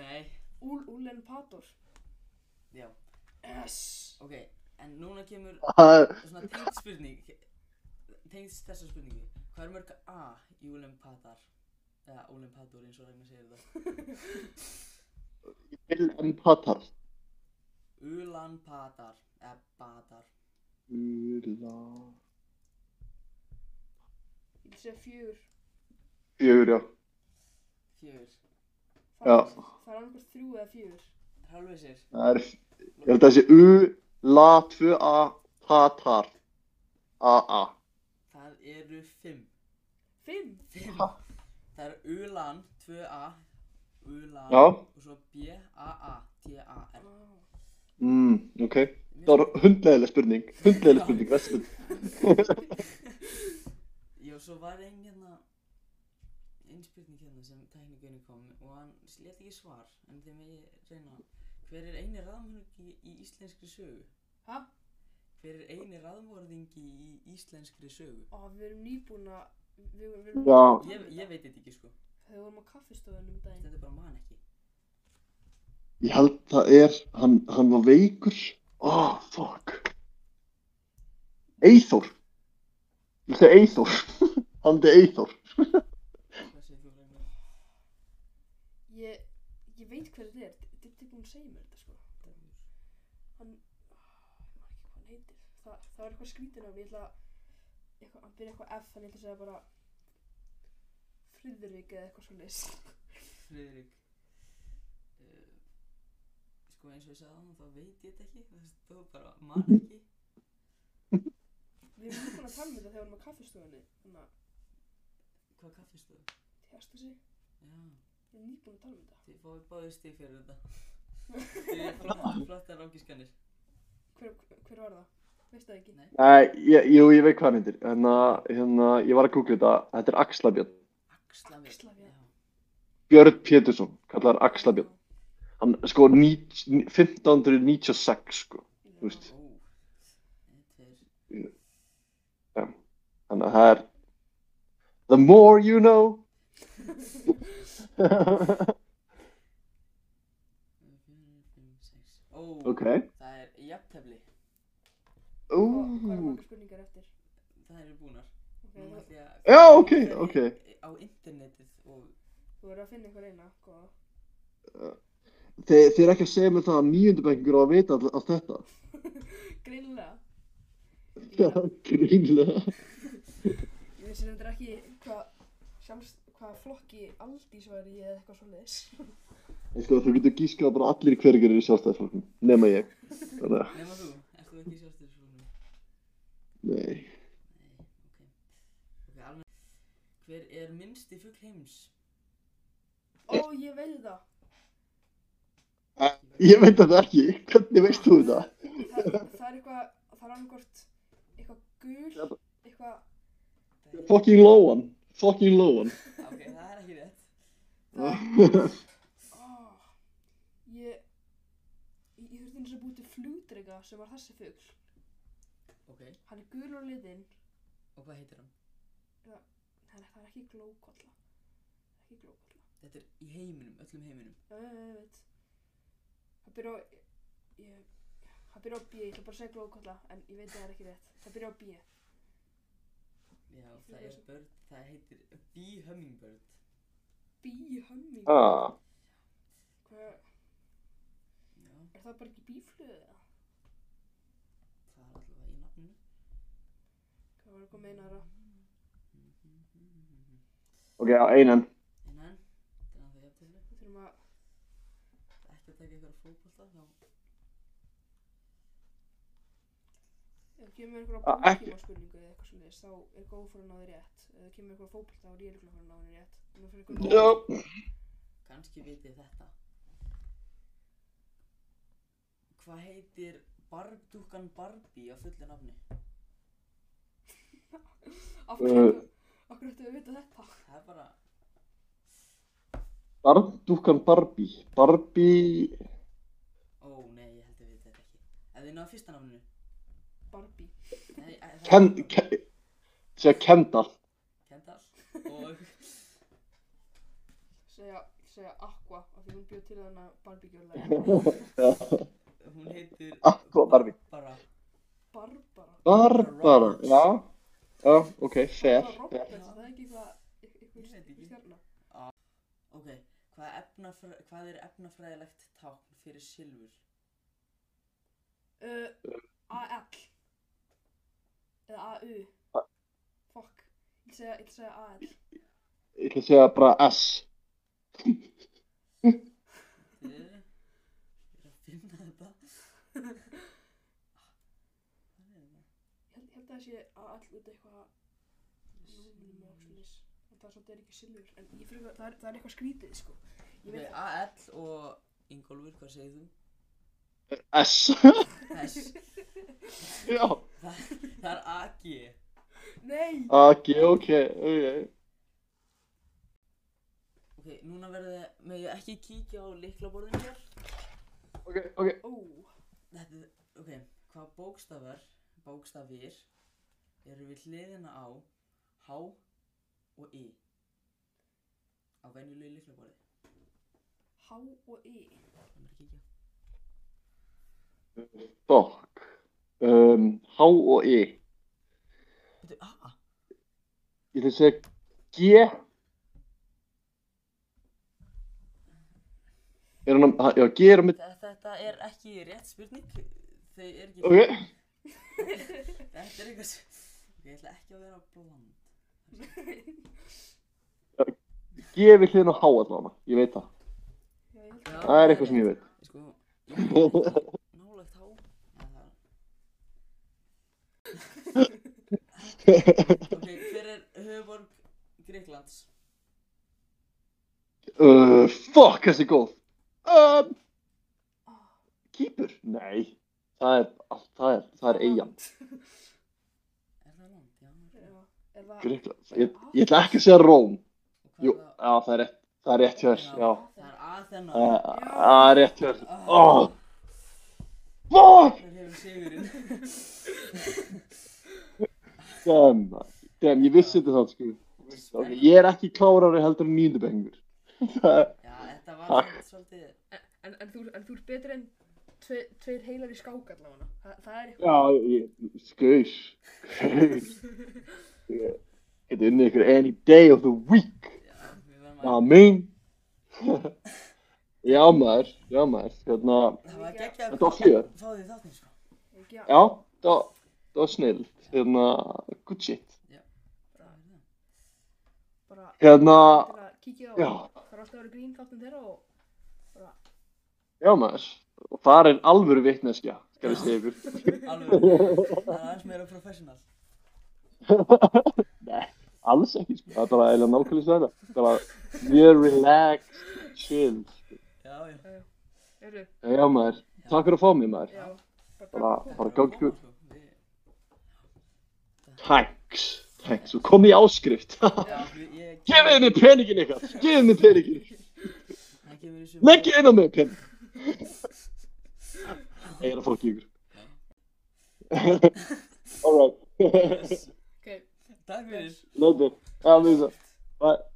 Nei, Úl, Úlen Pator. já, Yes! ok, en núna kemur Það er- svona tengd spurning tengst þessa spurningu hvað er mörg A í Ulempatar eða Ulempatur eins og Ragnar segir það Vil en Patar. Ulanpatar eða Batar Ula. Ég vil segja fjögur. Fjögur, já. fjögur Það er- Já. Það er annars þrjú eða fjögur. Hálfisir Það er, ég held að það sé U-La-2-A Patar. A-A. það eru fimm Fimm! Fimm. Ha? það eru Ulan 2A Ulan Já. og svo B-A-A-T-A-R Vá. Mm, ok. Það var hundleðileg spurning. Hundleðileg spurning, verð spurning. já svo var einn hérna einn spurning hérna sem tækningunni kom og hann let ekki svar en þeim ég reyna hver er eini raðmörgi í íslenskri sögu Hæ? Hver er eini raðmorðingi í íslenskri sögu? Ó, við erum nýbúin að... Við, við erum Já. Ég, ég veit þetta ekki sko, Þegar við vorum á kaffistofunum um daginn. þetta bara man ekki. Ég held það er, hann, hann var veikur. Oh, fuck. Eithor. Ég segi Eithor. *laughs* hann er Eithor. Hvað segir þú Ragnar? Ég, ég veit hver þetta er. Þetta er búin að segja mér þetta, sko. Hann... Ég maður ekki hvað hann heitir. Það, það var eitthvað skrítin af, ég ætla að... Eitthvað, hann byrja eitthvað F, þannig ég ætla að segja bara... Friðrik eða eitthvað svona Friðrik. Uh, sko eins og ég sagði hann, þá veit ég þetta ekki, það stóð bara man ekki. Við erum búin að tala um þetta þegar við erum á kaffistofunni. Þannig að, Hvað kaffistöðu? hérstu sig, Já, við erum nýbúin að tala um þetta. þið fáið báðið stig fyrir þetta. Þið er flottar, flottar ákískanir. Hver, hver var það? Veist það ekki? Nei. Nei, ég, jú, ég veit hvað hann heitir. Hérna, hérna, ég var að googla þetta. Þetta er Axlabjörn. Axlavjörn. Axlavjörn. Björn Pétursson, kallar Axlabjörn. Hann, sko, ní, 1596, sko. Þú veist. Já, ó. Einn, tveir. Þannig að það er The more you know Fjögur, fimm, sex. Ó, Ok það er jafntefli. Ú, Mm. Hvað hvað eru margar spurningar eftir? Það eru búnar. Ok, Nú það- ætla ég að- Já, ok, ég fer í- ok. Á internetið og Þú verður að finna einhver eina, góða. Þeir, þeir eru ekki að segja mér það að nýjöndabækingur á að vita all- allt þetta. Greinlega. *laughs* Það er grínlega. Ég vissi þetta ekki hvað sjálfs, hvað flokki Aldís var í eða eitthvað svoleiðis. Ég sko, þú getur gískað að bara allir í hverjir eru í sjálfstæðisflokknum. Nema ég. Þannig að, Nefna þú, ert þú ekki sjálfstæður svona? nei. Nei, ok. Ok, alveg. Hver er minnsti fugl heims? Ó, ég veit það. Ég veit þetta ekki. Hvernig veist þú þetta? Það, það er eitthvað, það er annarkort eitthvað Já, gul, eitthvað, Ok, Fucking Lóan. Fucking Lóan. það er ekki rétt. Ah. ó, ah. ég, ég, ég þurfti eins og búið til flugdrega sem var þessi fugl. Ok, Hann er gul á liðin, og hvað heitir hann? þannig að það er ekki glókolla. Ekki glókolla. Þetta er í heiminum, öllum heiminum. Já, já, já, ég veit. Það byrja á, ég, það byrja á B, ég ætla bara að segja glókolla, en ég veit að það er ekki rétt. Það byrja á B. Já, það er börn, það heitir Bee Hummingbird. Bíhömming? *laughs* Ah, Hvað, Já, er það bara ekki bíflöðu eða? það er allavega í nafninu. Hvað var eitthvað meinar að? ok, já, einan. En enn, þetta er að það jafntefni. Við þurfum að, Ekki að taka ykkur fókbalta, þá ef það kemur eitthvað Ah, á ekki. bókíma spurningu eða eitthvað sem þess, þá er góð fyrir að ná þér rétt. Ef það kemur eitthvað á fókbalta, þá er ég eitthvað fyrir að ná þér rétt. Nú fyrir eitthvað Já. kannski vitið þetta. Hvað heitir barbdúkan Barbie á fullu nafni? Af hverju Uh. ættu- af hverju ættu að vita þetta? Það er bara, Bardúkan Barbie. Barbie... ó nei, ég held að við þetta ekki. Ef þið náðu fyrsta nafninu. Barbie. Nei, æ, það Ken... er- Ken... Sér Kendall. Kendall. Og *laughs* Segja, segja Aqua, af því hún bjóð til þarna Barbie-gjörlega. *laughs* Já, hún heitir Aqua Barbie. Barbara. Barbara. Barbara, já. Já, ok, fair. Barbara fair. Roberts, er það er ekki eitthvað, eitthvað, Ég veit eitthvað ekki. stjarnar. Ok, hvað, efnafra, hvað er efnafræðilegt tákn fyrir silfur? Uh, AL eða AU Fuck, ég ætla að segja- ég ætla að segja AL Ég ætla að segja bara S. Þið eru þið eru að finna þetta. Hvað er þetta? Ég held- ég held að það sé AL út af eitthvað númum og slis en það er svolítið er ekki silfur en ég fyrir það er, það er eitthvað skrítið sko ég Ok, veit það AL og Ingólfur, hvað segir þú? S. Þess, *laughs* já. það, það er AG. Nei, Ok, ok, ok. Ok, núna verðið, með ég ekki kíkja á liklaborðin hér. Ok, ok. ó, Þetta er, ok, hvað bókstafar, bókstafir, eru við hliðina á H og I á venjulegu liklaborði? H og E *laughs* Það er ekki ekki. Fuck. Um, H og E. I. Þetta er A. Ég ætla að segja G. Er hann að, já, G er á mitt. Þe- Þetta er ekki rétt spurning. Þau er ekki... Ok. Þetta er eitthvað sem... Ok, ég ætla ekki að vera bland. G við hliðin á H allavega. Ég veit það. Já, ég held að Það er eitthvað sem ég veit. Sko, ég er ekki nálægt há. Ja, það er- ok, hver er höfuborg Greiklands? Uh, fuck, þessi er góð. Um, Ah, Kýpur? Nei. Það er, það er, það er eigin. Er það land? Já, það er það. Já, er það Gríkland. Ég, ég ætla ekki að segja Róm. Og hvað Jú, er það? já, það er rétt, það er rétt hjá þér, já. Það er Aþena. Eh, Það er rétt hjá þér. Ó, fuck! Það hefur sigurinn. *laughs* Damn, damn, ég vissi þetta þá, sko. Ok, ég er ekki klárari heldur en nýjundubengur. Já, þetta var Takk. samt svolítið... en, en, þú, en þú ert betur en tve, tveir heilar í skák allavega Þa, það er eitthvað Já, ég, skaus, skaus. Ég geti unnið ykkur any day of the week. Já, Ah, við verðum að... Amen. Já maður, já maður, Það hérna, var geggjað þetta var fjör. fá því þáttinn sko. Ekki að- Já, það var, það var snill, hérna, good shit. Það er það. bara Hérna, til að kíkja á já, það er alltaf að vera grín þáttum þeirra og bara já maður, og það er alvöru vitneskja, skal ég segja ykkur. Alveg, það er aðeins meira professional. Nei, alls ekki, sko, það er bara eiginlega nákvæmlega sæða. Það var mjög relaxed, chill, Já, já. eru, já maður, takk fyrir að fá mig maður. já, bara Bara, takk bara gangi Sko, við- Thanks, thanks, og kom í áskrift. *laughs* við- ég- Gefið henni peningin ykkar, gefið henni peningin, Það kemur í sumar. leggið henni með peningin. Ég er að fólki ykkur. *laughs* Alright, Yes. ok *laughs* Takk fyrir. later, I'll do that. Bye.